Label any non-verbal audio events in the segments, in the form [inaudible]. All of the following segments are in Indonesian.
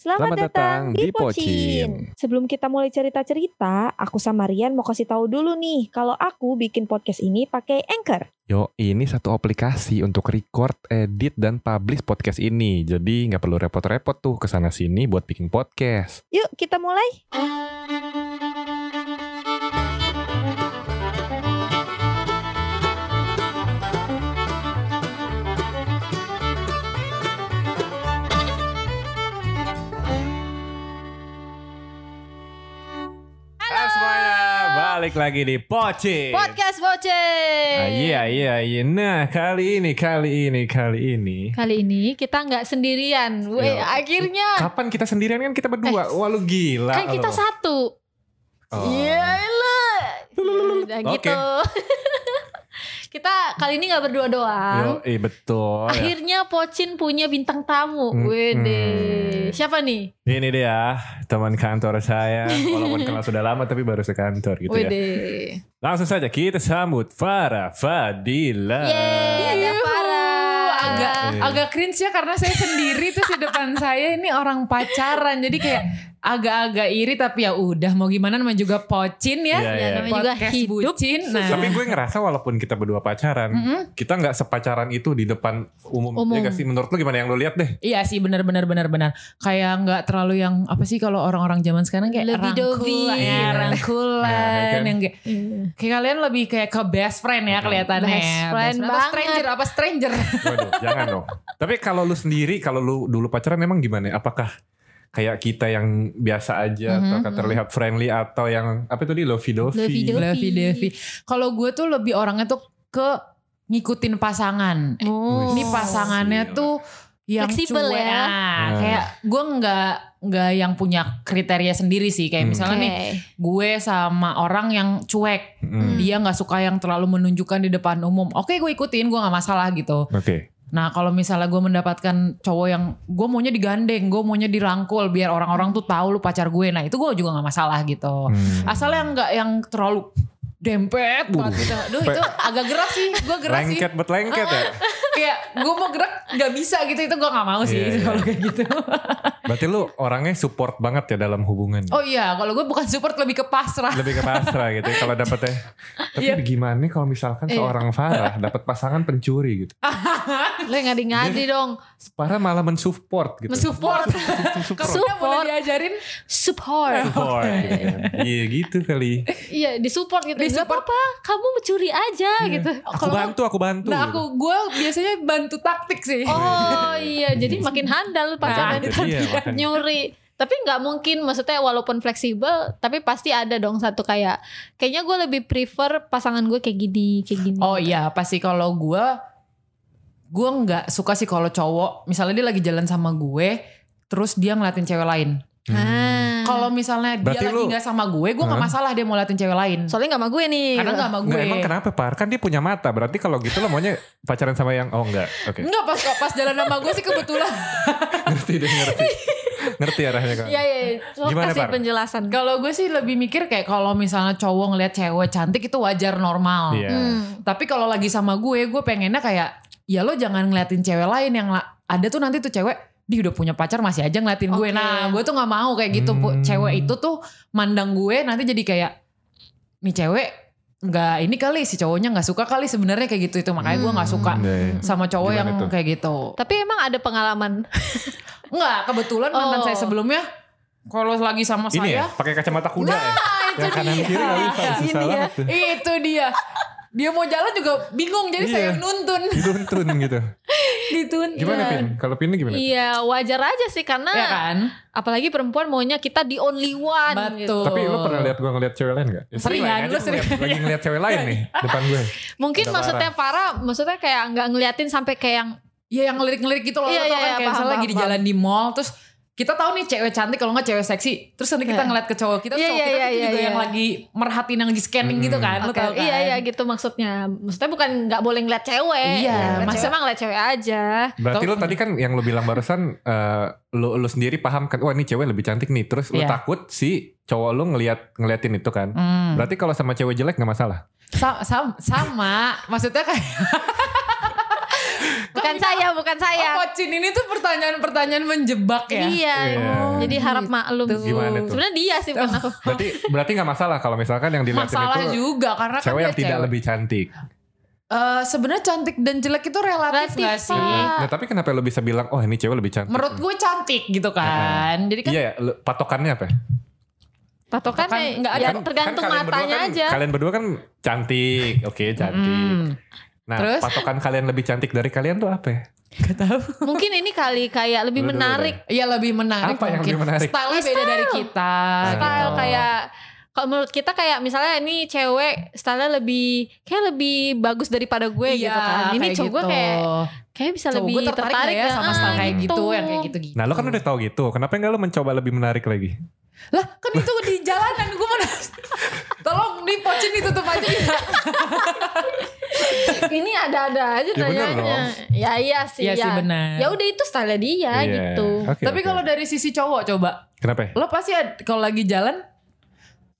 Selamat, Selamat datang, datang di di Pocin. Pocin. Sebelum kita mulai cerita-cerita, aku sama Rian mau kasih tahu dulu nih kalau aku bikin podcast ini pakai Anchor. Yo, ini satu aplikasi untuk record, edit, dan publish podcast ini. Jadi nggak perlu repot-repot tuh kesana sini buat bikin podcast. Yuk, kita mulai. Halo semuanya, balik lagi di Pocin. Podcast Boceng. Ah, Iya, iya, iya. Nah, kali ini, kali ini, kali ini. Kali ini kita nggak sendirian. Weh, Yo. akhirnya Kapan kita sendirian kan kita berdua? Eh, Wah, lu gila. kan kita lu. satu. Oh. lah. Udah Oke. gitu. [laughs] kita kali ini nggak berdua doang. Yo, eh, betul. ya. Akhirnya Pocin punya bintang tamu. Mm-mm. Wede. Siapa nih? Ini dia teman kantor [laughs] saya. Walaupun kenal sudah lama tapi baru sekantor gitu ya. Wede. Langsung saja kita sambut Farah Fadila. Yeay, ada Farah. agak Iya. agak cringe ya karena saya sendiri terus di depan saya ini orang pacaran jadi kayak agak-agak iri tapi ya udah mau gimana namanya juga pocin Iya, ya iya. Ya, namanya juga podcast hidup. bucin nah Hmm. Tapi gue ngerasa walaupun kita berdua pacaran, Mm-mm. kita nggak sepacaran itu di depan umum. Umum. Ya nggak sih? menurut lu gimana yang lu lihat deh? iya sih benar-benar benar-benar kayak nggak terlalu yang apa sih kalau orang-orang zaman sekarang kayak Lebih dovi. rangkul ya, rangkulan Iya. Nah, kan. yang kayak, kayak kalian lebih kayak ke best friend ya kelihatannya Best friend atau banget. stranger apa stranger Waduh, [laughs] jangan dong. Tapi kalau lu sendiri, kalau lu dulu pacaran emang gimana? Apakah kayak kita yang biasa aja atau Mhm, kan terlihat friendly atau yang apa itu di lovey Lovey dovey? dovey. Levi Devi. Kalau gue tuh lebih orangnya tuh ke ngikutin pasangan. Oh. Ini pasangannya Gila. tuh yang Fleksibel cuek. ya. Nah, Hmm. Kayak gue nggak nggak yang punya kriteria sendiri sih. Kayak Hmm. misalnya nih gue sama orang yang cuek. Hmm, Dia nggak suka yang terlalu menunjukkan di depan umum. Oke gue ikutin, gue nggak masalah gitu. Oke. Nah kalau misalnya gue mendapatkan cowok yang gue maunya digandeng, gue maunya dirangkul biar orang-orang tuh tahu lu pacar gue. Nah itu gue juga nggak masalah gitu. Hmm. Asal yang nggak yang terlalu dempet banget gitu. Aduh itu agak gerak sih, gue gerak sih. Uh, Lengket bet lengket [laughs] ya. Kayak gue mau gerak nggak bisa gitu, itu gue nggak mau sih Iya, iya. [laughs] kalau kayak gitu. Berarti lu orangnya support banget ya dalam hubungan. Oh iya, kalau gue bukan support lebih ke pasrah. [laughs] lebih ke pasrah gitu ya, kalau [laughs] dapetnya tapi Iya. gimana kalau misalkan Iya. seorang Farah dapat pasangan pencuri gitu Lo ngadi-ngadi dong. Farah malah mensupport gitu [laughs] Mensupport. support Karena boleh Support. diajarin Support. support gitu kan. iya gitu kali Iya, disupport gitu. Gak Disupport. apa-apa, kamu mencuri aja gitu. aku Kalau- bantu aku bantu Nah aku gue biasanya bantu taktik sih. Oh iya, jadi makin handal Nah, pacaran itu kan. dia, [laughs] makanya. nyuri. Tapi nggak mungkin, maksudnya walaupun fleksibel, tapi pasti ada dong satu kayak, kayaknya gue lebih prefer pasangan gue kayak gini, kayak gini. Oh iya, pasti kalau gue gue nggak suka sih kalau cowok misalnya dia lagi jalan sama gue terus dia ngeliatin cewek lain. Hmm. Ah. Kalau misalnya dia Berarti lagi lu- nggak sama gue, gue nggak Hah? masalah dia mau ngeliatin cewek lain. soalnya nggak sama gue nih. Karena nggak sama gue. Nggak, emang kenapa Par? Kan dia punya mata. Berarti kalau gitu lo maunya pacaran sama yang oh enggak. Oke. Enggak pas pas jalan sama gue sih kebetulan. ngerti deh, ngerti. ngerti arahnya kan. Iya, iya. Lo Gimana, kasih Par? penjelasan. Kalau gue sih lebih mikir kayak kalau misalnya cowok ngeliat cewek cantik itu wajar normal. Iya. Hmm. Tapi kalau lagi sama gue, gue pengennya kayak ya lo jangan ngeliatin cewek lain yang la- ada tuh nanti tuh cewek dia udah punya pacar masih aja ngeliatin gue. Oke. Nah, gue tuh nggak mau kayak gitu. Bu. Hmm. Cewek itu tuh mandang gue nanti jadi kayak nih cewek nggak ini kali si cowoknya nggak suka kali sebenarnya kayak gitu itu makanya gue nggak suka Hmm, Iya, iya. sama cowok Gimana yang tuh? kayak gitu. Tapi emang ada pengalaman. [laughs] Enggak, kebetulan mantan Oh. saya sebelumnya kalau lagi sama Ini ya, saya Nah, ah, pakai kacamata kuda ya. itu Yang kanan dia. Iya. kiri kali susah Ini ya. banget tuh. [laughs] itu dia. Dia mau jalan juga bingung jadi Iya. saya yang nuntun Dituntun gitu. dituntun. Gimana Iya, Pin? Kalau Pin gimana? Iya, wajar aja sih karena Ya kan? apalagi perempuan maunya kita the only one gitu. Betul. Tapi lu pernah lihat gue ngeliat cewek lain gak? Ya, Sering lah, kan, ngajak lu sering. ngeliat- Lagi ngeliat cewek lain nih depan gue. Mungkin Udah maksudnya Farah, maksudnya kayak nggak ngeliatin sampai kayak yang Ya yang ngelirik-ngelirik gitu loh. Iya, Lo tau iya, kan iya, kayak paham, misalnya lagi paham, di jalan di mall terus kita tahu nih cewek cantik kalau nggak cewek seksi. Terus nanti kita Iya. ngeliat ke cowok kita, terus Iya, cowok iya, kita tuh iya, juga iya. yang lagi merhatiin yang di scanning gitu Mm-mm. kan. Lo Oke, tau kan? iya iya gitu maksudnya. Maksudnya bukan nggak boleh ngeliat cewek. Iya, masa masa- emang ngeliat cewek aja. Berarti Tau- lu tadi kan yang lu bilang barusan [laughs] eh, lu lu sendiri paham kan wah ini cewek lebih cantik nih terus lu Iya. takut si cowok lu ngeliat ngeliatin itu kan. Hmm. Berarti kalau sama cewek [laughs] jelek nggak masalah. Sa- sam- sama maksudnya kayak Bukan saya, bukan saya. Oh, pocin ini tuh pertanyaan-pertanyaan menjebak ya. Iya. Iya. Jadi harap Gitu. maklum. Gimana tuh? Sebenarnya dia sih bukan aku. Berarti berarti nggak masalah kalau misalkan yang dilihatin Masalah itu juga karena kan cewek dia Ah. yang tidak lebih cantik. Eh, sebenarnya cantik dan jelek itu relatif, Relatif, nggak sih? Pak. Nah, tapi kenapa lo bisa bilang oh ini cewek lebih cantik? Menurut gue cantik gitu kan. Jadi kan Iya, ya, lo- patokannya apa? ya? Patokan Patokan nggak ya ada. Kan- tergantung kan kalian berdua matanya kan- aja. Kalian berdua kan cantik, [laughs] oke cantik. hmm, Nah, Terus? patokan kalian lebih cantik dari kalian tuh apa? ya? nggak tahu. Mungkin ini kali kayak lebih Dulu dulu menarik. Iya lebih menarik Apa yang mungkin. lebih menarik? Stylenya beda dari kita. gitu. Style Oh. kayak kalau menurut kita kayak misalnya ini cewek style lebih kayak lebih bagus daripada gue gitu kan. Ini Iya, kayak cowok gue gitu. kayak kayak bisa Cowok lebih gue tertarik, tertarik, nggak ya sama ah, style kayak gitu, yang kayak gitu-gitu. Nah, lo kan udah tahu gitu. Kenapa enggak lo mencoba lebih menarik lagi? Lah kan itu di jalanan gue mana [laughs] Tolong dipocin ditutup aja ya. ini ada-ada aja Ya bener tanyanya. dong. Ya iya sih. [laughs] Iya ya. sih, benar. Ya udah itu style dia Iya. gitu. Oke, Ya, Tapi oke. kalau dari sisi cowok coba kenapa? ya? Lo pasti ad- kalau lagi jalan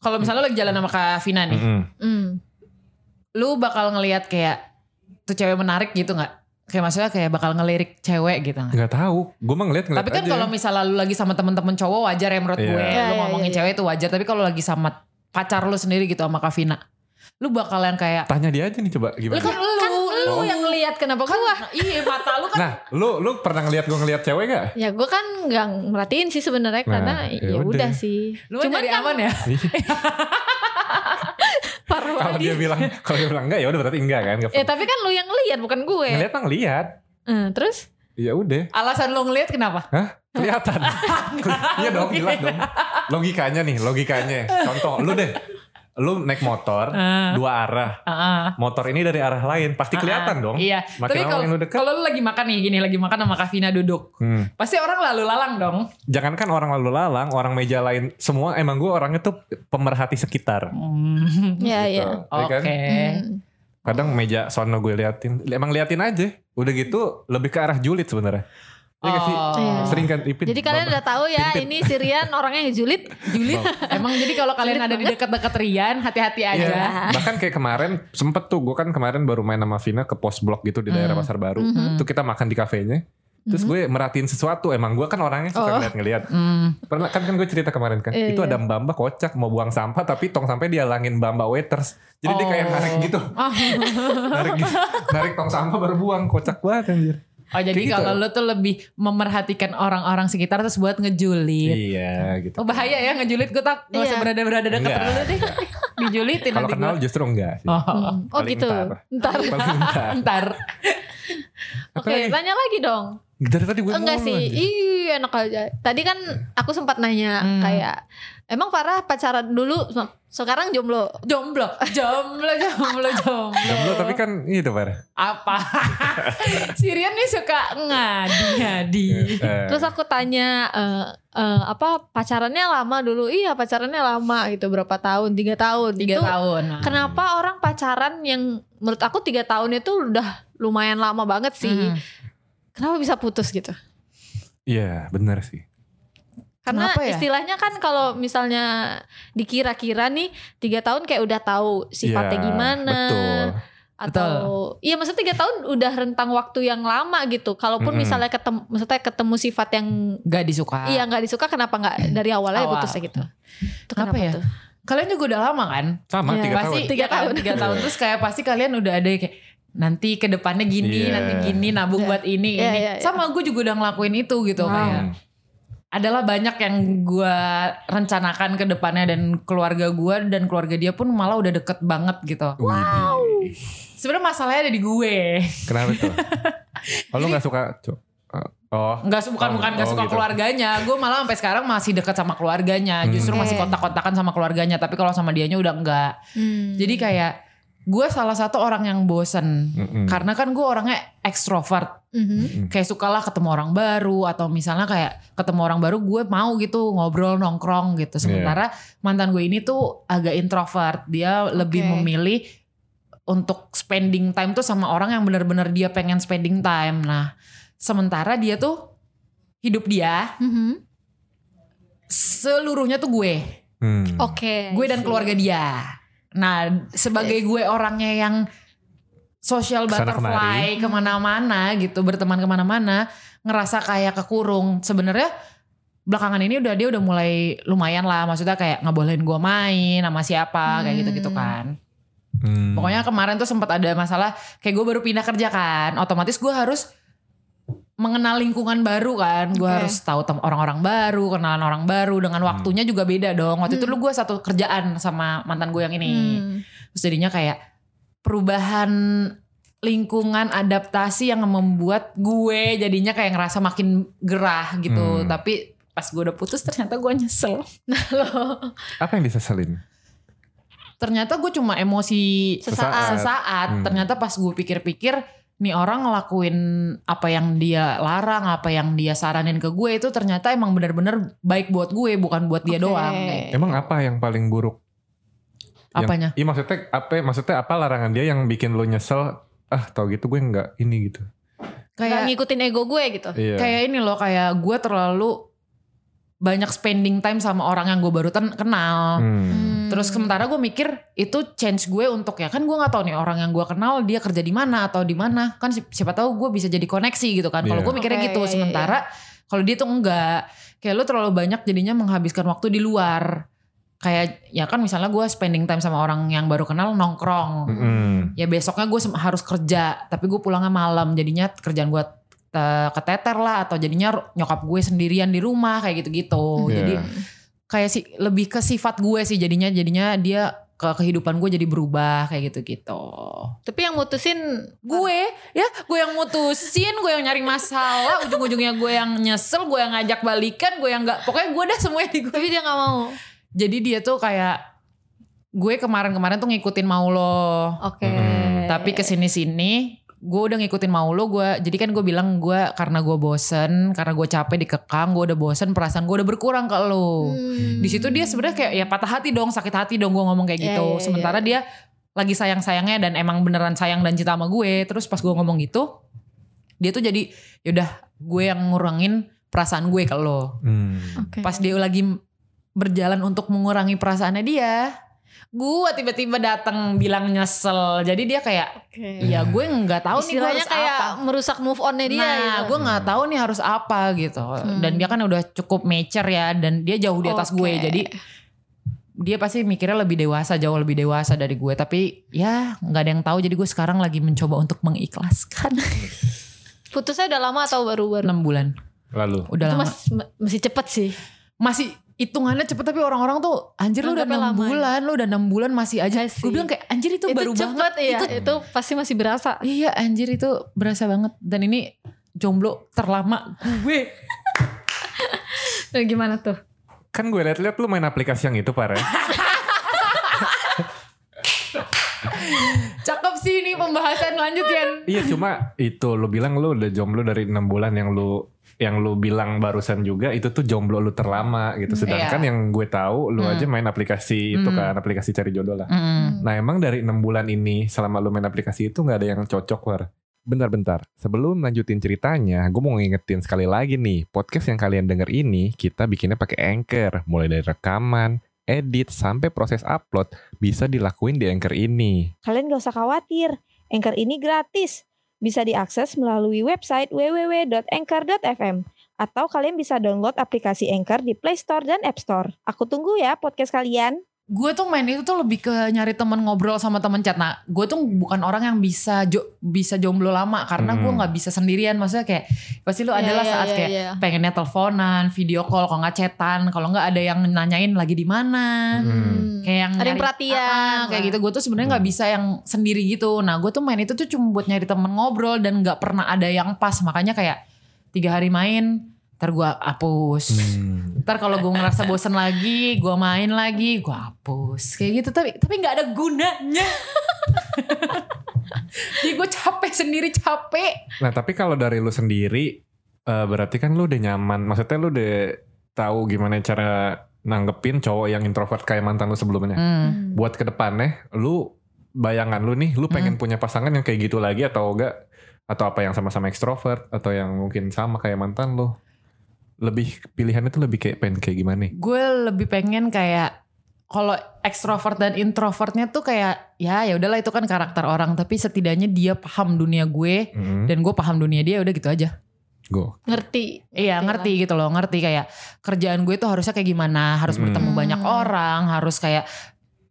Kalau misalnya lo lagi jalan sama Kak Vina nih Mm-mm. Hmm. Lo bakal ngelihat kayak Tuh cewek menarik gitu gak? Kayak maksudnya kayak bakal ngelirik cewek gitu gak? Nggak tahu. Gue mah ngeliat ngeliat Tapi kan aja. kalau misalnya lu lagi sama temen-temen cowok wajar ya menurut Iya. gue. Iya, lu iya, ngomongin iya. cewek itu wajar. Tapi kalau lagi sama pacar lu sendiri gitu sama Kak Vina. Lu bakalan kayak. Tanya dia aja nih coba gimana. Lu kan lu. Kan lu yang ngelihat kenapa Kan, gua? [laughs] iya mata lu kan. Nah, lu lu pernah ngeliat gue ngeliat cewek gak? Ya gue kan nggak merhatiin sih sebenarnya Nah, karena ya ya udah. udah sih. [laughs] lu kan nyari aman ya. Parno kalau dia bilang kalau dia bilang enggak ya udah berarti enggak kan? Eh, Nggak Ya tapi kan lu yang ngelihat bukan ya. gue. Ngeliat mah ngeliat. Eh, terus Ya [laughs] udah. Alasan lu ngeliat kenapa? Hah? Kelihatan. Iya dong, jelas dong. Logikanya nih, logikanya. Contoh, lu deh. Lu naik motor, Ah. dua arah. Heeh. Motor ini dari arah lain, pasti kelihatan dong. Iya. Makin Tapi lama kalau makin lu dekat. kalau lu lagi makan nih gini lagi makan sama Kak Vina duduk. Hmm. Pasti orang lalu lalang dong. Jangankan orang lalu lalang, orang meja lain, semua emang gue orangnya tuh pemerhati sekitar. Hmm. ya Gitu. ya. Hmm. Ya Oke. kan? Mm. Kadang meja sono gue liatin, emang liatin aja. Udah gitu lebih ke arah julid sebenarnya. Iya nggak sih? Iya. Oh. Sering kan ipin. Jadi kalian babah. udah tahu ya Pimpin. ini si Rian orangnya yang [laughs] julid. Julid, emang jadi kalau kalian Julid ada di dekat-dekat Rian, hati-hati aja. Iya. Bahkan kayak kemarin sempet tuh gue kan kemarin baru main sama Vina ke pos blok gitu di daerah Hmm. Pasar Baru. Mhm. Itu kita makan di kafenya. Terus gue merhatiin sesuatu. Emang gue kan orangnya suka Oh. ngeliat-ngeliat. Hmm. Pernah kan kan gue cerita kemarin kan. Iya, itu iya. ada mbamba kocak mau buang sampah tapi tong sampai dialangin mbamba waiters. Jadi dia kayak Oh. narik gitu. Ah. narik gitu. Narik tong sampah baru buang. Kocak banget anjir. Oh jadi Kayak gitu. kalau lu tuh lebih memerhatikan orang-orang sekitar terus buat ngejulit. Iya gitu. Oh bahaya ya ngejulit gue tak gak usah Iya. berada-berada dekat Enggak. dulu deh. Dijulitin Kalau nanti kenal gitu. gue. justru enggak sih. Oh. Hmm. Oh Paling gitu. ntar. Ntar. Paling enggak. Ntar. Apa Oke, lagi? tanya lagi dong. Dari tadi gue Enggak mulu, sih. anjir. Ih, enak aja. Tadi kan aku sempat nanya Hmm. kayak emang Farah pacaran dulu sekarang jomblo. Jomblo, jomblo, jomblo, jomblo. Jomblo tapi kan itu Fer. Apa? [laughs] Sirian nih suka ngadi-ngadi. Eh, Iya. Terus aku tanya eh, eh, apa pacarannya lama dulu? Iya, pacarannya lama gitu. Berapa tahun? Tiga tahun. Tiga Itu tahun. Kenapa orang pacaran yang menurut aku tiga tahun itu udah lumayan lama banget sih. Hmm. Kenapa bisa putus gitu? Iya benar sih. Karena Kenapa ya? istilahnya kan kalau misalnya dikira-kira nih tiga tahun kayak udah tahu sifatnya Iya, gimana Betul. atau iya maksudnya tiga tahun udah rentang waktu yang lama gitu. Kalaupun Mm-mm. misalnya ketemu, maksudnya ketemu sifat yang Gak disuka. iya nggak disuka, kenapa nggak dari awalnya Ah. Awal. putusnya gitu? Itu Kenapa kenapa, ya? tuh? Kalian juga udah lama kan? Sama Iya. tiga pasti tahun. Iya. tiga Tiga tahun tahun. tiga tahun terus kayak pasti kalian udah ada kayak nanti ke depannya Iya. gini nanti gini nabung Iya. buat ini Iya, ini iya, iya. sama gue juga udah ngelakuin itu gitu Wow. kayak Hmm. adalah banyak yang gue rencanakan ke depannya dan keluarga gue dan keluarga dia pun malah udah deket banget gitu Widih. sebenarnya masalahnya ada di gue Kenapa [laughs] tuh? Oh, lu gak suka co- Oh, nggak su- bukan Oh, bukan nggak oh suka gitu. keluarganya gue malah sampai sekarang masih deket sama keluarganya justru Hmm. masih Oke. kontak-kontakan sama keluarganya tapi kalau sama dianya udah enggak Hmm. jadi kayak gue salah satu orang yang bosen Mm-mm. karena kan gue orangnya ekstrovert Mhm. kayak sukalah ketemu orang baru atau misalnya kayak ketemu orang baru gue mau gitu ngobrol nongkrong gitu sementara mantan gue ini tuh agak introvert dia lebih Oke. memilih untuk spending time tuh sama orang yang benar-benar dia pengen spending time nah sementara dia tuh hidup dia Mhm. seluruhnya tuh gue Hmm. Oke. gue dan keluarga dia nah sebagai gue orangnya yang social Kesana butterfly kemana-mana gitu berteman kemana-mana ngerasa kayak kekurung sebenarnya belakangan ini udah dia udah mulai lumayan lah maksudnya kayak nggak bolehin gue main sama siapa kayak Hmm. gitu gitu kan Hmm. pokoknya kemarin tuh sempat ada masalah kayak gue baru pindah kerja kan otomatis gue harus mengenal lingkungan baru kan gue Oke. harus tahu tem- orang-orang baru kenalan orang baru dengan waktunya juga beda dong waktu itu Hmm. lu gue satu kerjaan sama mantan gue yang ini Hmm. [laughs] Terus jadinya kayak perubahan lingkungan adaptasi yang membuat gue jadinya kayak ngerasa makin gerah gitu. Hmm. Tapi pas gue udah putus ternyata gue nyesel. Loh, apa yang diseselin? Ternyata gue cuma emosi Sesaat. sesaat. sesaat. Hmm. Ternyata pas gue pikir-pikir nih orang ngelakuin apa yang dia larang, apa yang dia saranin ke gue itu ternyata emang bener-bener baik buat gue bukan buat dia Oke. doang. kayak gitu. Iya. Emang apa yang paling buruk? Yang- Apanya? Iya maksudnya apa? Maksudnya apa larangan dia yang bikin lo nyesel? Ah tau gitu gue nggak ini gitu. Nggak Kayak ngikutin ego gue gitu. Iya. kayak ini loh kayak gue terlalu banyak spending time sama orang yang gue baru ten- kenal Hmm. Hmm. terus sementara gue mikir itu change gue untuk ya kan gue nggak tahu nih orang yang gue kenal dia kerja di mana atau di mana kan si- siapa tahu gue bisa jadi koneksi gitu kan kalau Iya. gue mikirnya Oke, gitu iya, iya, sementara kalau dia tuh enggak kayak lu terlalu banyak jadinya menghabiskan waktu di luar kayak ya kan misalnya gue spending time sama orang yang baru kenal nongkrong Hmm. Mm-mm. ya besoknya gue sem- harus kerja tapi gue pulangnya malam jadinya kerjaan gue te- keteter lah atau jadinya ru- nyokap gue sendirian di rumah kayak Oh, gitu-gitu Iya. jadi kayak sih lebih ke sifat gue sih jadinya jadinya dia ke kehidupan gue jadi berubah kayak gitu-gitu Tapi yang mutusin gue ya gue yang mutusin gue yang nyari masalah ujung-ujungnya gue yang nyesel gue yang ngajak balikan gue yang nggak pokoknya gue dah semuanya di gue tapi dia nggak mau. jadi dia tuh kayak gue kemarin-kemarin tuh ngikutin mau lo Oke. Mm-mm. Hmm, tapi kesini sini gue udah ngikutin mau lo gue jadi kan gue bilang gue karena gue bosen karena gue capek dikekang gue udah bosen perasaan gue udah berkurang ke lo Hmm. di situ dia sebenarnya kayak ya patah hati dong sakit hati dong gue ngomong kayak Iya, gitu iya, iya. sementara dia lagi sayang sayangnya dan emang beneran sayang dan cinta sama gue terus pas gue ngomong gitu dia tuh jadi yaudah gue yang ngurangin perasaan gue ke lo Hmm. Oke. pas dia lagi berjalan untuk mengurangi perasaannya dia gue tiba-tiba datang bilang nyesel jadi dia kayak Oke. Ya gue nggak tahu nih gue Istilahnya harus kayak apa. merusak move onnya dia. nah, gitu. gue nggak tahu nih harus apa gitu. Hmm. Dan dia kan udah cukup mature ya dan dia jauh di atas Oke. gue. Jadi dia pasti mikirnya lebih dewasa, jauh lebih dewasa dari gue. Tapi ya nggak ada yang tahu. Jadi gue sekarang lagi mencoba untuk mengikhlaskan. Putusnya udah lama atau baru-baru? 6 bulan. Lalu. Udah Itu lama. mas, ma- masih cepet sih. Masih hitungannya cepet tapi orang-orang tuh anjir lu udah Anggapnya 6 lama ya. bulan, lu udah 6 bulan masih aja. Iya sih. Gue bilang kayak anjir itu, baru cepet banget. ya. Itu Itu, pasti masih [laughs] berasa. Iya anjir itu berasa banget dan ini jomblo terlama gue. Nah, gimana tuh? Kan gue liat-liat lu main aplikasi yang itu ya? pare. Cakep sih ini pembahasan lanjut Yan. iya cuma itu lu bilang lu udah jomblo dari enam bulan yang lu yang lu bilang barusan juga itu tuh jomblo lu terlama gitu. Sedangkan Iya. yang gue tahu lu Hmm. aja main aplikasi itu Hmm. kan aplikasi cari jodoh lah. Hmm. Nah emang dari enam bulan ini selama lu main aplikasi itu nggak ada yang cocok war? Bentar-bentar, sebelum lanjutin ceritanya, gue mau ngingetin sekali lagi nih, podcast yang kalian denger ini kita bikinnya pakai Anchor, mulai dari rekaman, edit, sampai proses upload bisa dilakuin di Anchor ini. Kalian gak usah khawatir, Anchor ini gratis. Bisa diakses melalui website www.anchor.fm atau kalian bisa download aplikasi Anchor di Play Store dan App Store. Aku tunggu ya podcast kalian. Gue tuh main itu tuh lebih ke nyari temen ngobrol sama temen chat. Nah, gue tuh bukan orang yang bisa jo- bisa jomblo lama karena Hmm. gue nggak bisa sendirian. Maksudnya kayak Iya, pasti lu adalah saat kayak pengennya teleponan, video call, kalau nggak chatan, kalau nggak ada yang nanyain lagi di Hmm. mana. Hmm. Kayak yang Ada yang nyari- perhatian. Ah, kayak gitu. Gue tuh sebenarnya nggak bisa yang sendiri gitu. Nah, gue tuh main itu tuh cuma buat nyari temen ngobrol dan nggak pernah ada yang pas. Makanya kayak tiga hari main, ntar gue hapus. Hmm. Ntar kalau gue ngerasa bosen lagi, gue main lagi, gue hapus kayak gitu. Tapi tapi nggak ada gunanya. [laughs] Jadi gue capek sendiri capek. Nah tapi kalau dari lu sendiri, eh, berarti kan lu udah nyaman, maksudnya lu udah tahu gimana cara nanggepin cowok yang introvert kayak mantan lu sebelumnya. Hmm. Hmm. buat kedepannya lu bayangan lu nih lu pengen punya pasangan yang kayak gitu lagi atau enggak atau apa yang sama-sama ekstrovert atau yang mungkin sama kayak mantan lu lebih pilihannya tuh lebih kayak pengen kayak gimana nih Gue lebih pengen kayak kalau ekstrovert dan introvertnya tuh kayak ya ya udahlah itu kan karakter orang tapi setidaknya dia paham dunia gue Mm. dan gue paham dunia dia udah gitu aja. Go. ngerti kan? Iya Oke ngerti gitu loh ngerti kayak kerjaan gue tuh harusnya kayak gimana harus Hmm. bertemu banyak Hmm. orang harus kayak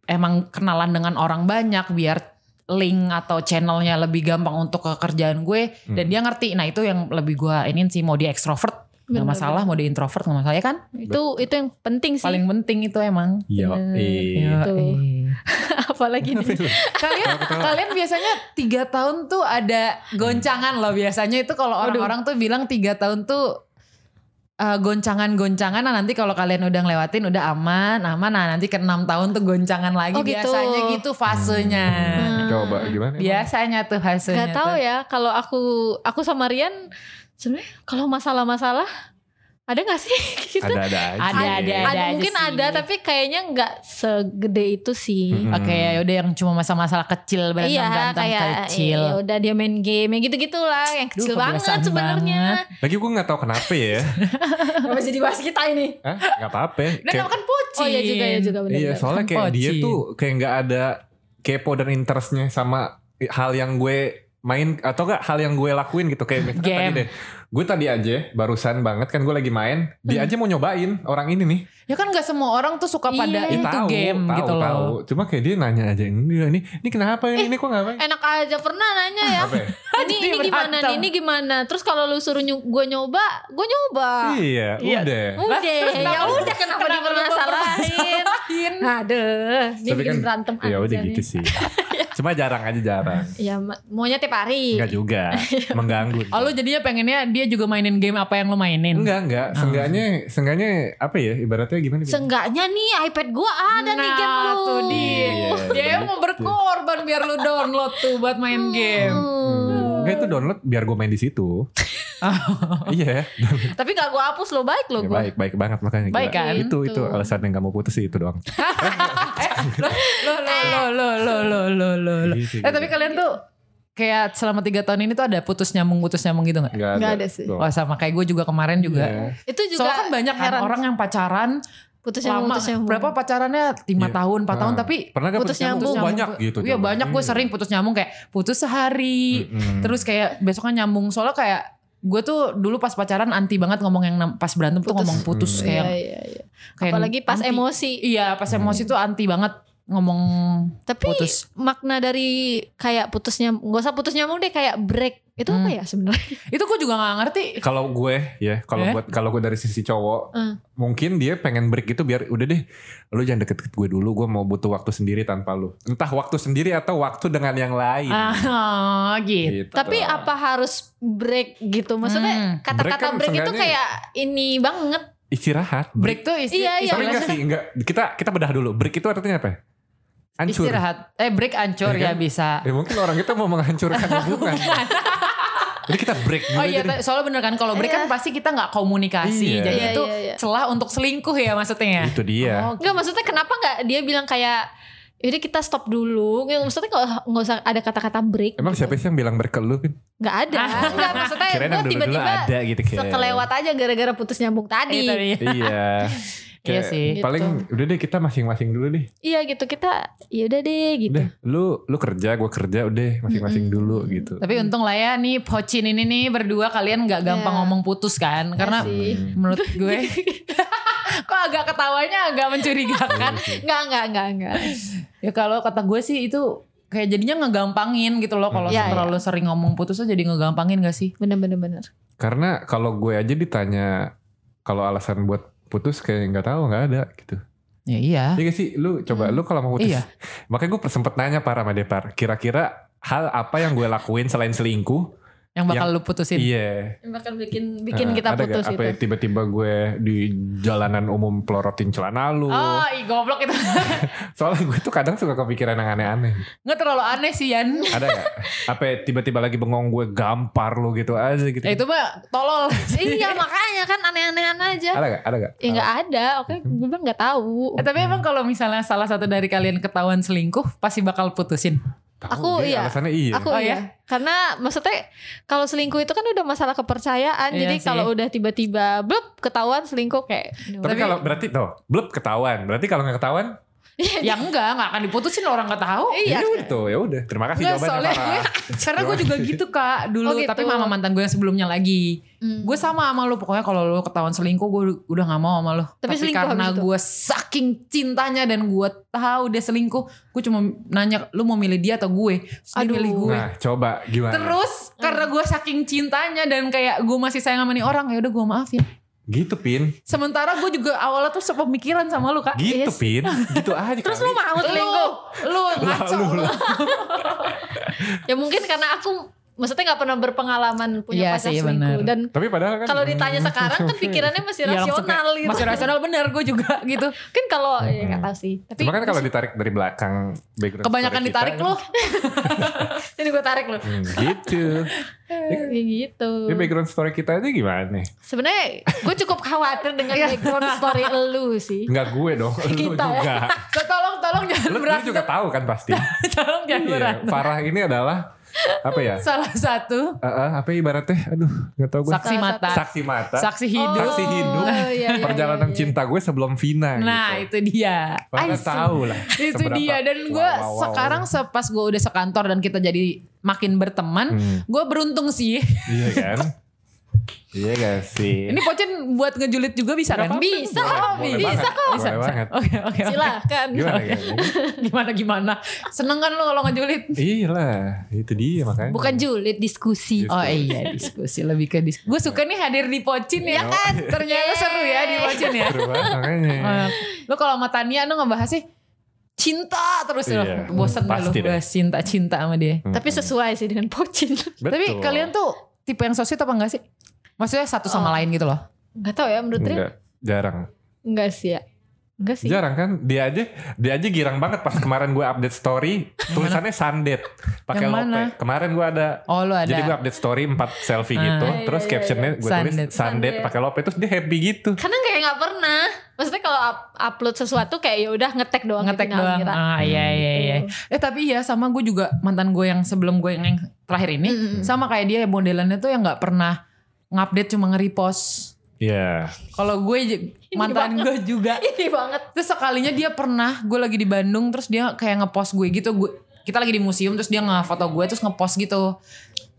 emang kenalan dengan orang banyak biar link atau channelnya lebih gampang untuk ke kerjaan gue dan Mm. dia ngerti nah itu yang lebih gua ini sih mau dia ekstrovert nggak Bener, masalah mau dia introvert nggak masalah ya kan bener. itu itu yang penting sih paling penting itu emang Iya. Bener. eh. Iya, Tuh. eh. [laughs] apalagi [laughs] [laughs] nih kalian kalian biasanya tiga tahun tuh ada goncangan loh biasanya itu kalau Waduh. orang-orang tuh bilang tiga tahun tuh eh, goncangan-goncangan nah nanti kalau kalian udah ngelewatin udah aman aman nah nanti ke enam tahun tuh goncangan lagi Oh, gitu. biasanya gitu fasenya Hmm. Coba gimana? emang? biasanya tuh fasenya Gak tahu tuh. ya kalau aku aku sama Rian sebenarnya kalau masalah-masalah ada gak sih [laughs] kita Ada-ada aja. Ada-ada aja. ada, aja mungkin sih. ada tapi kayaknya nggak segede itu sih Mm-mm. Oke ya udah yang cuma masalah-masalah kecil berantem Iya berantem kayak kecil. ya udah dia main game ya gitu-gitulah yang kecil banget kebiasaan sebenarnya. Lagi gue gak tahu kenapa ya. Kenapa jadi bahas kita ini? Hah? Gak [laughs] apa-apa. Dan Kayak- nama kan pocin. Oh iya juga ya juga benar. Iya, soalnya Kan kayak dia pocin. tuh kayak nggak ada kepo dan interestnya sama hal yang gue main atau enggak hal yang gue lakuin gitu kayak misalkan Game. tadi deh. Gue tadi aja barusan banget kan gue lagi main, Hmm. dia aja mau nyobain orang ini nih. Ya kan gak semua orang tuh suka pada Ya Iya. Eh, itu tahu, game tahu, gitu tahu. loh. Eh, Cuma kayak dia nanya aja ini ini ini kenapa ini, ini kok ngapain? Enak aja pernah nanya [laughs] ya. Apa ya? ini Dia ini gimana berantem. nih? Ini gimana? Terus kalau lu suruh gue nyoba, gue nyoba. Iya, Iya. udah. Udah, Terus kenapa- ya udah kenapa, kenapa lu dipermasalahin? Lain. [laughs] Aduh, dia Tapi bikin kan- berantem Hmm, Ya aja udah nih. gitu [laughs] sih. Cuma jarang aja jarang. Ya ma- maunya tiap hari. Enggak juga mengganggu. Gitu. Oh lu jadinya pengennya dia juga mainin game apa yang lu mainin? Enggak, enggak. Seenggaknya, seenggaknya apa ya? Ibaratnya gimana? Seenggaknya nih iPad gue ada nih Nah, game lu. tuh dia. Iya, Dia yang mau berkorban biar lu download tuh buat main game. Hmm. Enggak itu download biar gue main di situ. Oh. [laughs] iya, Tapi gak gue hapus lo baik lo ya, gue. baik baik banget makanya. gila. Baik kan? Itu itu Tuh. alasan yang gak mau putus sih itu doang. eh, lo lo Eh. lo lo lo lo lo lo lo. Gitu, Eh tapi kalian tuh kayak selama tiga tahun ini tuh ada putus nyambung putus nyambung gitu nggak? Enggak ada. Nggak ada sih. Tuh. Wah sama kayak gue juga kemarin juga. Iya. Itu juga Soalnya kan banyak kan heran. orang yang pacaran putus yang lama putus yang berapa pacarannya lima Iya. tahun empat Nah, tahun tapi pernah gak putus putus nyambung? nyambung? Banyak gitu. iya jawabannya. banyak gue Iya. sering putus nyambung kayak putus sehari Mm-mm. terus kayak besoknya nyambung soalnya kayak gue tuh dulu pas pacaran anti banget ngomong yang nam- pas berantem tuh Putus. ngomong putus Hmm. kayak, Iya, iya, iya. kayak Apalagi pas anti. emosi. iya pas Hmm. emosi tuh anti banget ngomong Tapi putus makna dari kayak putusnya nggak usah putus nyambung deh kayak break itu apa Hmm. ya sebenarnya? itu gue juga nggak ngerti kalau gue ya, kalau Eh? buat kalau gue dari sisi cowok, Eh. mungkin dia pengen break gitu biar udah deh, lu jangan deket-deket gue dulu, gue mau butuh waktu sendiri tanpa lu. Entah waktu sendiri atau waktu dengan yang lain. ah [laughs] gitu Gitu. [laughs] Tapi apa harus break gitu? Maksudnya Hmm. kata-kata Break kan break, itu seenggaknya- kayak ini banget. istirahat? Break break tuh isti- Iya, iya. Tapi enggak sih, enggak. Kita kita bedah dulu. Break itu artinya apa? ya? Hancur. istirahat eh break ancur Iya ya, kan? bisa Ya mungkin orang kita mau menghancurkan hubungan. Jadi kita break dulu Oh iya, jadi. soalnya bener kan kalau break kan pasti kita nggak komunikasi, Iya. jadi Iya, itu iya, gitu. iya. celah untuk selingkuh ya maksudnya. Itu dia. Oh, Enggak maksudnya kenapa nggak dia bilang kayak Yaudah kita stop dulu. Nggak, Maksudnya nggak nggak usah ada kata-kata break. Emang siapa sih yang bilang break ke lu? Pin? [laughs] Nggak ada. Enggak maksudnya Kirain gue yang dulu-dulu tiba-tiba ada gitu kayak. sekelewat aja gara-gara putus nyambung tadi. Itu dia. Iya. Iya Kayak sih. Paling udah deh kita masing-masing dulu deh. Iya gitu kita ya udah deh gitu. Udah, lu lu kerja, gue kerja, udah masing-masing Mm-mm. dulu gitu. Tapi untung lah ya nih Pocin ini nih berdua kalian nggak Iya. gampang ngomong putus kan karena Hmm. Iya sih. menurut gue [laughs] [laughs] Gitu. kok agak ketawanya agak mencurigakan. Enggak enggak enggak enggak. [laughs] ya kalau kata gue sih itu kayak jadinya ngegampangin gitu loh kalau Iya, terlalu sering ngomong putus tuh jadi ngegampangin gak sih? Bener bener bener. Karena kalau gue aja ditanya kalau alasan buat putus kayak nggak tahu nggak ada gitu. Ya iya. Ah. Iya gak sih lu coba Hmm. lu kalau mau putus. Iya. Makanya gue sempet nanya para sama Depar, kira-kira hal apa yang gue lakuin selain selingkuh? Yang bakal lu putusin. Iya. Bakal bikin bikin Eh, kita ada gak, putus apa gitu. ya, tiba-tiba gue di jalanan umum pelorotin celana lu. Oh, ih goblok itu. Soalnya gue tuh kadang suka kepikiran yang aneh-aneh. [laughs] Nggak terlalu aneh sih Yan. Ada [laughs] gak? apa ya, tiba-tiba lagi bengong gue gampar lu gitu aja gitu. Nah, Ya itu mah tolol. [laughs] iya makanya kan aneh-anehan aja. Ada gak? Ada gak? Ya nggak ada. Oke, gue bilang nggak tahu. Eh, tapi emang kalau misalnya salah satu dari kalian ketahuan selingkuh pasti bakal putusin. Tahu Aku dia iya. Alasannya iya. Aku Oh, iya. iya? Karena maksudnya kalau selingkuh itu kan udah masalah kepercayaan. Iya jadi sih. kalau udah tiba-tiba blep ketahuan selingkuh kayak tapi, tapi- kalau berarti tuh, belum ketahuan. Berarti kalau nggak ketahuan, ya enggak, enggak akan diputusin orang nggak tahu. Iya. Ya udah tuh, ya udah. Terima kasih Enggak, jawabannya soalnya Farah. Karena gue juga gitu kak dulu, Oh, gitu. tapi sama mantan gue yang sebelumnya lagi. Hmm. Gue sama sama lu pokoknya kalau lu ketahuan selingkuh gue udah nggak mau sama lu. Tapi Tapi, selingkuh karena habis itu? gue saking cintanya dan gue tahu dia selingkuh, gue cuma nanya lu mau milih dia atau gue. Terus dia Aduh. milih gue. Nah, coba gimana? Terus karena gue saking cintanya dan kayak gue masih sayang sama nih orang, ya udah gue maafin. Gitu, Pin. Sementara gue juga awalnya tuh sepemikiran sama lu kak. Gitu, Yes. [laughs] Pin. Gitu aja Terus kali. lu mau Lu, selingkuh? lu Lah, ngaco lu, lu. lah. Ya mungkin karena aku maksudnya nggak pernah berpengalaman punya Iya pacar sih, selingkuh bener. dan Tapi padahal kan kalau ditanya hmm, sekarang [laughs] kan pikirannya masih Iya, langsung rasional kayak, gitu. Masih rasional bener gue juga [laughs] gitu. Kan kalau ya Mm-mm. nggak tahu sih. Tapi Cuma kan kalau ditarik dari belakang background Kebanyakan story kita ditarik kan- [laughs] lu. ini gue tarik loh. Hmm, gitu. Iya, Ya gitu. Ini background story kita aja gimana nih? Sebenarnya gue cukup khawatir dengan Iya. background story elu sih. Enggak gue dong, lu Kita ya. [laughs] juga. So, tolong tolong jangan Lu, lu berantem. juga tahu kan [laughs] pasti. tolong jangan Iya, berantem. Farah ini adalah apa ya? Salah satu Eh, eh, apa ibaratnya? Aduh, nggak tahu gue. saksi Salah mata, saksi, Saksi Oh. mata. Oh, hidup. Saksi hidup. iya, [laughs] perjalanan cinta gue sebelum Vina iya. Nah gitu. itu dia. Farah I see. tahu lah. Itu seberapa- dia dan gue Wow, wow, wow. sekarang sepas gue udah sekantor dan kita jadi makin berteman, Hmm, gue beruntung sih. iya kan? iya gak sih? Ini pocin buat ngejulit juga bisa Nggak kan? apa-apa. Bisa, Boleh bisa banget, kok. Boleh banget. Oke oke. oke. Silahkan. Gimana Oke. gimana? [laughs] Gimana gimana? Seneng kan lo kalau ngejulit? Iya lah, itu dia makanya. Bukan julid diskusi. Diskusi. Oh iya diskusi lebih ke diskusi. Gue suka nih hadir di pocin ya Iya. kan. Ternyata seru ya di pocin ya. Eh, Seru banget makanya. iya. Lo kalau sama Tania lo ngebahas sih cinta terus lo. Iya. Bosen dah lo Pasti deh. bahas cinta-cinta sama dia. Hmm. Tapi sesuai sih dengan pocin. Betul. Tapi kalian tuh tipe yang sosial apa enggak sih? Maksudnya satu Oh. sama lain gitu loh. Gak tau ya menurut Rin. Enggak, jarang. Enggak sih ya. Enggak sih. Jarang kan? Dia aja dia aja girang banget pas kemarin gue update story, tulisannya sundet pakai Yang lope. mana? Kemarin gue ada Oh lo ada. Jadi gue update story 4 selfie Ah. gitu, Iya, iya, terus iya, captionnya gue tulis Sundet. sundet Sundet. pakai lope, terus dia happy gitu. Karena kayak nggak pernah. Maksudnya kalau up- upload sesuatu kayak ya udah ngetek doang. ngetek gitu, doang. Almira. Ah iya Hmm. iya iya. Eh tapi iya sama gue juga mantan gue yang sebelum gue yang terakhir ini Mm-mm. sama kayak dia modelannya tuh yang nggak pernah ngupdate cuma nge-repost. Iya. Kalau gue j- mantan gue [laughs] juga [laughs] Ini banget. Terus sekalinya dia pernah gue lagi di Bandung terus dia kayak ngepost gue gitu gue kita lagi di museum terus dia ngefoto gue terus ngepost gitu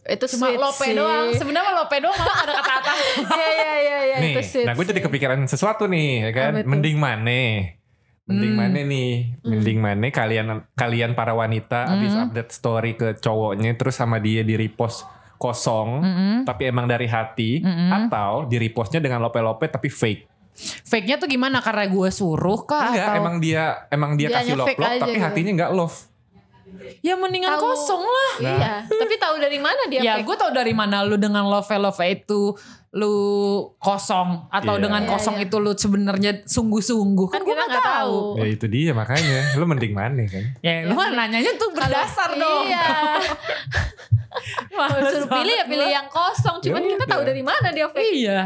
Itu cuma sweet lope sih. doang sebenarnya lope doang malah ada [laughs] kata-kata Iya iya iya iya Nih, itu sweet. nah gue jadi sih. kepikiran sesuatu nih, ya kan? Apa tuh? Mending mana? Mending Hmm. mana nih? Mending mana kalian kalian para wanita habis Hmm. update story ke cowoknya terus sama dia di repost kosong, Mm-mm. Hmm. tapi emang dari hati Mm-mm. atau di repostnya dengan lope-lope tapi fake. fake nya tuh gimana karena gue suruh kah Enggak, atau emang dia emang dia Ah, Dianya kasih fake love-love aja tapi gitu. hatinya enggak love. ya mendingan Tahu. kosong lah Iya. Tapi tahu dari mana dia? Nah. ya fake? gue tau dari mana lu dengan love love itu lu kosong atau Iya. dengan Iya, kosong iya. itu lu sebenarnya sungguh-sungguh kan, gue kita nggak tahu Oh. Ya itu dia makanya. Lu mending mana kan? ya lu kan nanyanya tuh berdasar dong Iya. [laughs] Kalau Males suruh pilih ya banget pilih gua. yang kosong. Cuman Ya kita udah. tahu dari mana dia fake. iya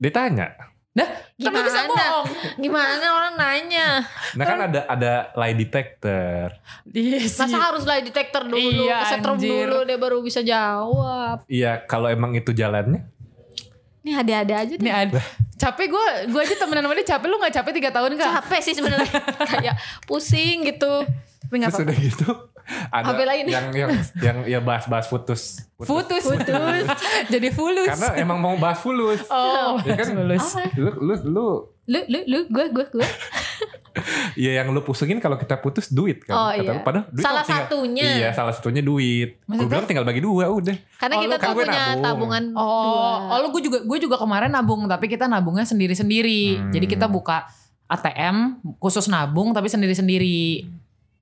Ditanya. Dah, tapi Gimana? bisa bohong. Gimana orang nanya? Nah kan ada ada lie detector. Iya sih. Masa harus lie detector dulu, Iya, kesetrum anjir. dulu dia baru bisa jawab. Iya kalau emang itu jalannya. Nih ada-ada aja Ini deh. ada. Capek gue, gue aja temenan sama dia capek. Lu gak capek 3 tahun kak? Capek sih sebenarnya [laughs] kayak pusing gitu. Tapi nggak Terus apa-apa. udah gitu ada Apa lain? yang yang yang ya bahas-bahas putus. Putus. Putus. [laughs] Jadi fulus. Karena emang mau bahas fulus. oh, Ya Iya. kan? fulus. Apa? Lu lu lu Lu lu lu gue gue gue. ya yang lu pusingin kalau kita putus duit kan. Oh, Kata iya. lu, Padahal duit Salah kan tinggal- satunya. Iya, salah satunya duit. Gue Maksudnya? bilang tinggal bagi dua udah. Karena Oh, kita lu kan tuh gue punya nabung. tabungan Oh, dua. oh lu gue juga, gue juga kemarin nabung. Tapi kita nabungnya sendiri-sendiri. Hmm. Jadi kita buka ATM khusus nabung tapi sendiri-sendiri.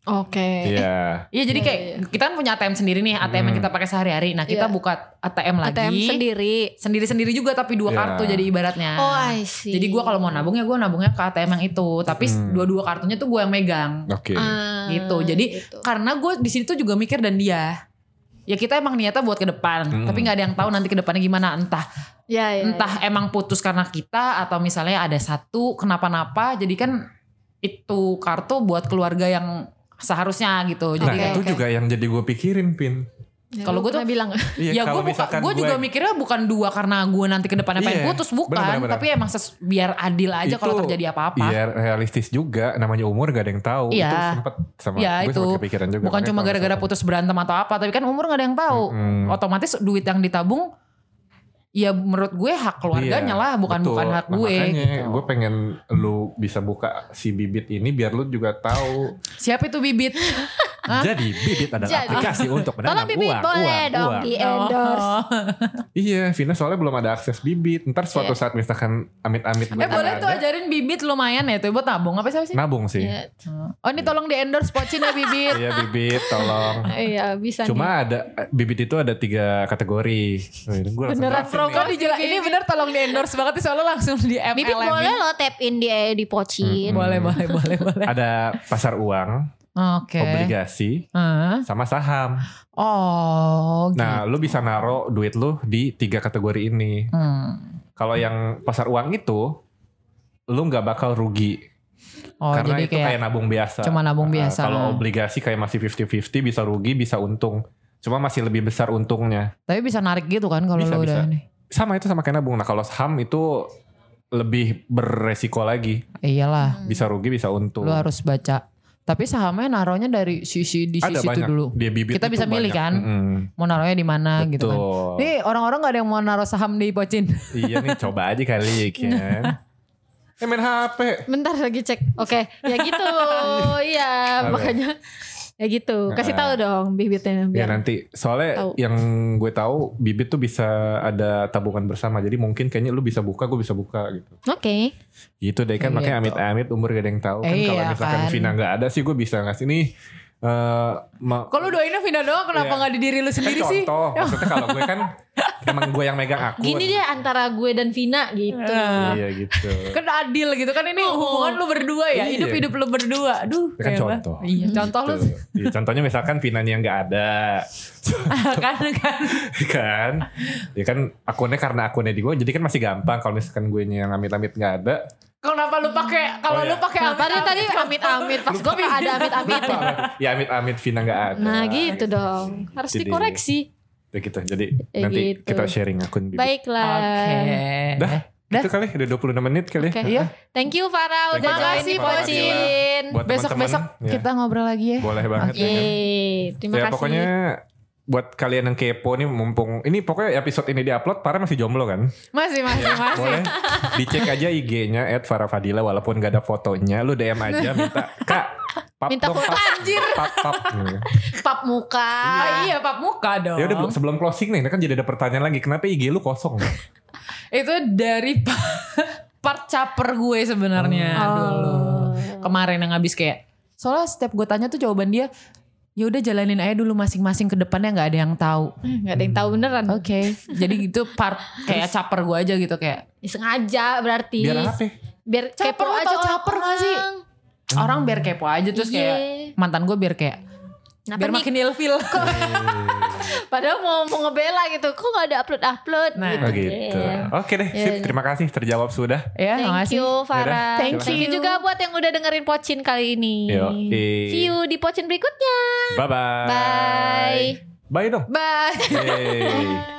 Oke. Iya. Iya jadi Iya, kayak iya. kita kan punya ATM sendiri nih, ATM Hmm. yang kita pakai sehari-hari. Nah kita Iya. buka ATM lagi. ATM sendiri. Sendiri-sendiri juga tapi dua Iya. kartu jadi ibaratnya. Oh, I see. Ah, Jadi gue kalau mau nabung ya gue nabungnya ke ATM yang itu, tapi Hmm. dua-dua kartunya tuh gue yang megang. Oke. Ah, Gitu, jadi- gitu. Karena gue di situ juga mikir dan dia. Ya kita emang niatnya buat ke depan, Hmm. tapi nggak ada yang tahu nanti ke depannya gimana. Entah ya, Iya. ya, entah emang putus karena kita atau misalnya ada satu kenapa-napa, jadi kan itu kartu buat keluarga yang seharusnya gitu. Nah Jadi Oke, itu oke. juga yang jadi gue pikirin Pin. lu Kalau gua pernah tuh- bilang Iya, ya kalau gue buka, misalkan gue juga mikirnya bukan dua karena gue nanti kedepannya Iya, pengen putus bukan, benar-benar. tapi emang ses- biar adil aja kalau Itu- terjadi apa-apa. Iya realistis juga namanya umur gak ada yang tahu Iya. itu sempet sama Iya, gue itu. sempet kepikiran juga bukan makanya cuma kalau gara-gara misalkan- putus berantem atau apa, tapi kan umur gak ada yang tahu. Mm-mm. Otomatis duit yang ditabung, ya menurut gue hak keluarganya Iya, lah, bukan betul. bukan hak Nah, gue. makanya gitu. gue pengen lu bisa buka si bibit ini biar lu juga tahu Siapa itu bibit? Hah? jadi bibit adalah Jadi. aplikasi untuk menanam Tolong bibit uang, boleh uang, dong uang. di Oh, endorse. Iya, Vina soalnya belum ada akses bibit. Ntar suatu saat misalkan amit-amit gue Iya. Eh boleh nggak tuh ada, Nah. ajarin bibit lumayan ya tuh buat tabung apa sih? apa sih? Nabung sih. Iya. Oh ini tolong di endorse pocin ya bibit. Iya bibit, tolong. Iya bisa nih. Cuma ada eh, bibit itu ada tiga kategori. Gue Beneran promo. Kok dijela- ini bener tolong di endorse banget sih soalnya langsung di MLM. Bibit boleh lo tap in di eh, di Mm-mm. pocin. boleh boleh boleh boleh. Ada pasar uang, Oke. obligasi, Heeh. sama saham. Oh. Gitu. Nah, lu bisa naro duit lu di tiga kategori ini. Hmm. Kalau yang pasar uang itu, lu nggak bakal rugi Oh karena jadi itu kayak, kayak nabung biasa. cuma nabung Nah, biasa. Kalau obligasi kayak masih 50-50 bisa rugi bisa untung. Cuma masih lebih besar untungnya. tapi bisa narik gitu kan kalau Bisa, lo bisa. udah ini. Sama itu sama kayak nabung. Nah kalau saham itu lebih berresiko lagi. Eh, Iyalah, Hmm. Bisa rugi bisa untung. lo harus baca. Tapi sahamnya naruhnya dari sisi di Ada sisi itu banyak. dulu. Dia bibit Kita itu bisa milih banyak. kan? Mm-mm. Mau naruhnya di mana Betul. gitu kan. Nih orang-orang gak ada yang mau naruh saham di Pocin. iya nih coba aja kali [laughs] kan. eh main HP. Bentar lagi cek. Oke, ya [laughs] gitu. Iya, Apa? makanya ya gitu. Kasih tahu Nah. dong bibitnya Ya biar. nanti soalnya Tahu. yang gue tahu bibit tuh bisa ada tabungan bersama. Jadi mungkin kayaknya lu bisa buka, gue bisa buka gitu. Oke. Gitu deh kan Iya makanya dong. amit-amit umur gak ada yang tahu kan Eh, kalau iya misalkan kan. Vina nggak ada sih gue bisa ngasih nih eh ma- Kalau doainnya Vina doang kenapa Iya. nggak di diri lu kan sendiri sih? [laughs] contoh maksudnya kalau gue kan emang gue yang megang akun. Gini deh antara gue dan Vina gitu. Nah, Iya gitu. Kan adil gitu kan ini hubungan lu berdua ya, Iya. hidup-hidup lu berdua. Aduh, Kan kayak apa? contoh. Iya, contoh lu Tuh. Iya, contohnya misalkan Vinanya yang nggak ada [laughs] kan kan. kan ya kan akunnya karena akunnya di gue jadi kan masih gampang kalau misalkan gue yang amit-amit nggak ada Kenapa lu pakai Oh, kalau iya. lu pakai Kenapa amit-amit? nih tadi amit-amit pas gue nggak ada amit-amit. Lupa. ya amit-amit Vina nggak ada Nah gitu dong. Harus Jadi- dikoreksi. Ya gitu. Jadi Ya nanti gitu. kita sharing akun Bibi. Nah. Baiklah. Dah. Itu kali udah 26 menit kali. Oke. ya Iya. Thank you Farah Thank udah you, join di Farah. Pocin. Buat Besok-besok teman-teman, ya. kita ngobrol lagi ya. boleh banget. ya kan? Yeay, terima Ya kasih. pokoknya buat kalian yang kepo nih mumpung ini pokoknya episode ini diupload Farah masih jomblo kan? Masih masih masih. Boleh dicek aja IG-nya @farafadila walaupun gak ada fotonya, lu DM aja minta Kak Pap Minta dong, foto, pap, anjir. Pap, pap. pap muka. Ah, iya pap muka dong. Ya udah belum- sebelum closing nih, kan jadi ada pertanyaan lagi. Kenapa IG lu kosong? Itu dari [laughs] pa- part caper gue sebenarnya Hmm. Oh. dulu. Kemarin yang habis kayak soalnya setiap gue tanya tuh jawaban dia ya udah jalanin aja dulu masing-masing ke depannya nggak ada yang tahu. Gak ada yang tahu beneran. Oke. Jadi itu part kayak caper gue aja gitu kayak Sengaja berarti. Biar apa? Biar Caper, kepo lo aja tau caper gak sih? orang. orang biar kepo aja terus Iya. kayak mantan gue biar kayak Kenapa biar nih? makin ilfil. [laughs] Eh. Padahal mau, mau ngebela gitu. Kok gak ada upload-upload Nah. Oh gitu. Yeah. Oke deh, sip. Terima kasih terjawab sudah. ya, Thank makasih. you Farah. Yaudah, Thank Thank you juga buat yang udah dengerin Pocin kali ini. Yoi. See you di Pocin berikutnya. Bye-bye. Bye. Bye dong. Bye. Yay.